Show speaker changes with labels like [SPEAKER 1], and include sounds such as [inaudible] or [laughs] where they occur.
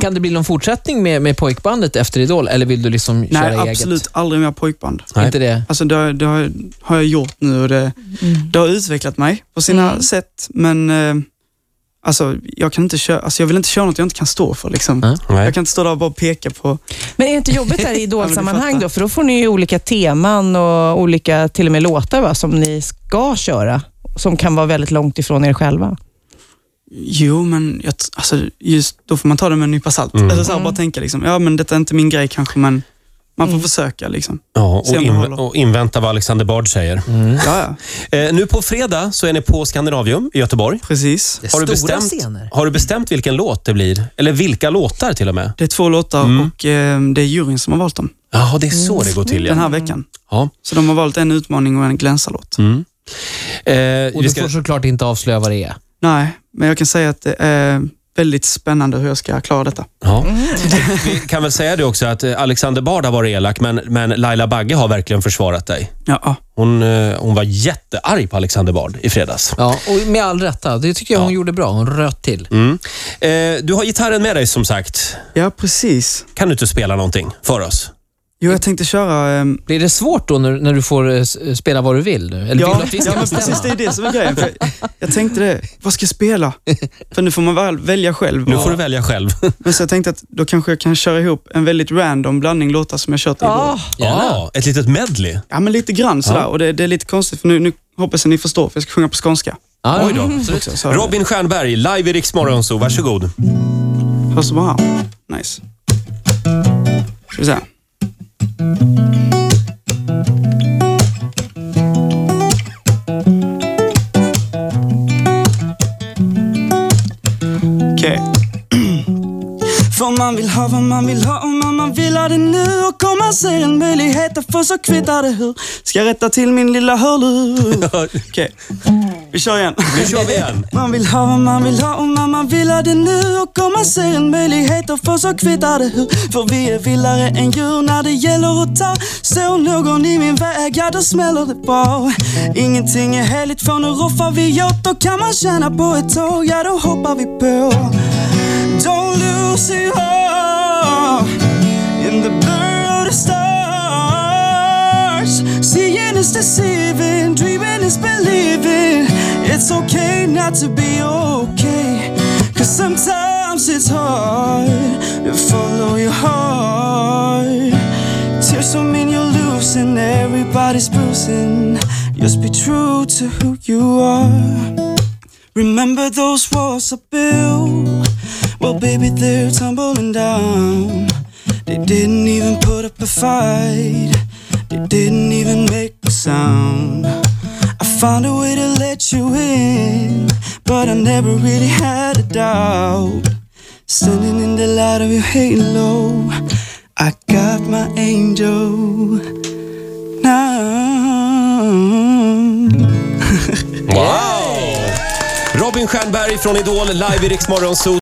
[SPEAKER 1] Kan det bli någon fortsättning med, med pojkbandet efter Idol, eller vill du liksom köra
[SPEAKER 2] Nej,
[SPEAKER 1] eget?
[SPEAKER 2] absolut aldrig mer pojkband.
[SPEAKER 1] Nej. Inte det?
[SPEAKER 2] Alltså det, har- det har, har jag gjort nu och det, det har utvecklat mig på sina
[SPEAKER 3] Mm.
[SPEAKER 2] sätt, men eh, alltså, jag, kan inte köra, alltså, jag vill inte köra något jag inte kan stå för. Liksom.
[SPEAKER 1] Nej.
[SPEAKER 2] Jag
[SPEAKER 4] Nej.
[SPEAKER 2] kan inte stå där och bara peka på...
[SPEAKER 3] Men är det inte [laughs] jobbigt där i
[SPEAKER 2] Ja,
[SPEAKER 3] idolsammanhang
[SPEAKER 2] men du
[SPEAKER 3] då? För då får ni ju olika teman och olika, till och med låtar va, som ni ska köra, som kan vara väldigt långt ifrån er själva.
[SPEAKER 2] Jo, men jag, t- alltså, just, då får man ta det med en nypa salt.
[SPEAKER 4] Mm.
[SPEAKER 2] Eller så här,
[SPEAKER 3] Mm.
[SPEAKER 2] bara tänka, liksom, ja men detta är inte min grej kanske, men man får
[SPEAKER 3] Mm.
[SPEAKER 2] försöka. Liksom.
[SPEAKER 4] Ja, och,
[SPEAKER 2] Se om det
[SPEAKER 4] in,
[SPEAKER 2] håller.
[SPEAKER 4] och invänta vad Alexander Bard säger.
[SPEAKER 1] Mm.
[SPEAKER 2] Ja, ja,
[SPEAKER 4] Eh, nu på fredag så är ni på Skandinavium i Göteborg.
[SPEAKER 2] precis.
[SPEAKER 1] Det är
[SPEAKER 4] Har du,
[SPEAKER 1] stora
[SPEAKER 4] bestämt,
[SPEAKER 1] scener.
[SPEAKER 4] har du bestämt vilken låt det blir? Eller vilka låtar till och med?
[SPEAKER 2] Det är två låtar
[SPEAKER 4] Mm.
[SPEAKER 2] och eh, det är juryn som har valt dem
[SPEAKER 4] Ja, det är så det går till.
[SPEAKER 2] den
[SPEAKER 4] Ja.
[SPEAKER 2] här veckan.
[SPEAKER 4] Ja.
[SPEAKER 2] Så de har valt en utmaning och en glänsalåt.
[SPEAKER 4] Mm. Eh,
[SPEAKER 1] Och du
[SPEAKER 4] vi ska,
[SPEAKER 1] får såklart inte avslöja vad det är.
[SPEAKER 2] Nej, men jag kan säga att det är väldigt spännande hur jag ska klara detta.
[SPEAKER 4] ja. [laughs] Vi kan väl säga det också att eh, Alexander Bard har varit elak, men, men Laila Bagge har verkligen försvarat dig.
[SPEAKER 2] Ja, ja.
[SPEAKER 4] Hon, eh, hon var jättearg på Alexander Bard i fredags.
[SPEAKER 1] Ja, och med all rätta. Det tycker jag hon
[SPEAKER 4] Ja.
[SPEAKER 1] gjorde bra. Hon röt till.
[SPEAKER 4] Mm. Eh, du har gitarren med dig som sagt.
[SPEAKER 2] ja precis.
[SPEAKER 4] Kan du inte spela någonting för oss?
[SPEAKER 2] Jo, jag tänkte köra... ehm,
[SPEAKER 1] Blir det svårt då när, när du får eh, s- spela vad du vill? Nu? Eller vill du
[SPEAKER 2] ja,
[SPEAKER 1] att vi ska
[SPEAKER 2] ja men
[SPEAKER 1] bestämma?
[SPEAKER 2] precis, det är det som är grejen. För jag, jag tänkte det, vad ska jag spela? För nu får man väl välja själv.
[SPEAKER 4] Nu får du välja själv. [laughs]
[SPEAKER 2] Men så jag tänkte att då kanske jag kan köra ihop en väldigt random blandning låtar som jag kört i år.
[SPEAKER 3] Ja,
[SPEAKER 1] Gärna.
[SPEAKER 4] Ja, ett litet medley.
[SPEAKER 2] Ja, men lite grann sådär. Och det, det är lite konstigt, för nu, nu hoppas jag ni förstår, för jag ska sjunga på skånska.
[SPEAKER 1] Ja,
[SPEAKER 4] Oj då.
[SPEAKER 1] absolut.
[SPEAKER 2] Så, så,
[SPEAKER 4] Robin Stjernberg, live i Rix Morgon Zoo. Varsågod.
[SPEAKER 2] Hörs det bra här? Nice. Ska vi se. Okej. [clears throat] För man vill ha vad man vill ha och man, man vill ha det nu och komma sig en möjlighet att få så kvittar det hur. Ska rätta till min lilla hörlur. [laughs] Okej, vi kör igen. [laughs]
[SPEAKER 4] Nu kör vi igen.
[SPEAKER 2] Man vill ha vad man vill ha och när man vill ha det nu och komma se en möjlighet att få så kvittar det hur. För vi är villare än djur när det gäller att ta. Så någon i min väg, ja då smäller det bra. Ingenting är heligt för nu roffar vi åt. Då kan man tjäna på ett tåg, ja då hoppar vi på. Don't lose your heart in the blur of the stars. Seeing is deceiving, dreaming is believing. It's okay not to be okay, cause sometimes it's hard to follow your heart. Tears don't mean you're losing, everybody's bruising. Just be true to who you are. Remember those walls I built? Well, baby, they're tumbling down. They didn't even put up a fight. They didn't even make a sound. I found a way to let you in, but I never really had a doubt. Standing in the light of your halo, I got my angel now.
[SPEAKER 4] Wow! Robin Stjernberg från Idol, live i Rix Morgon Zoo.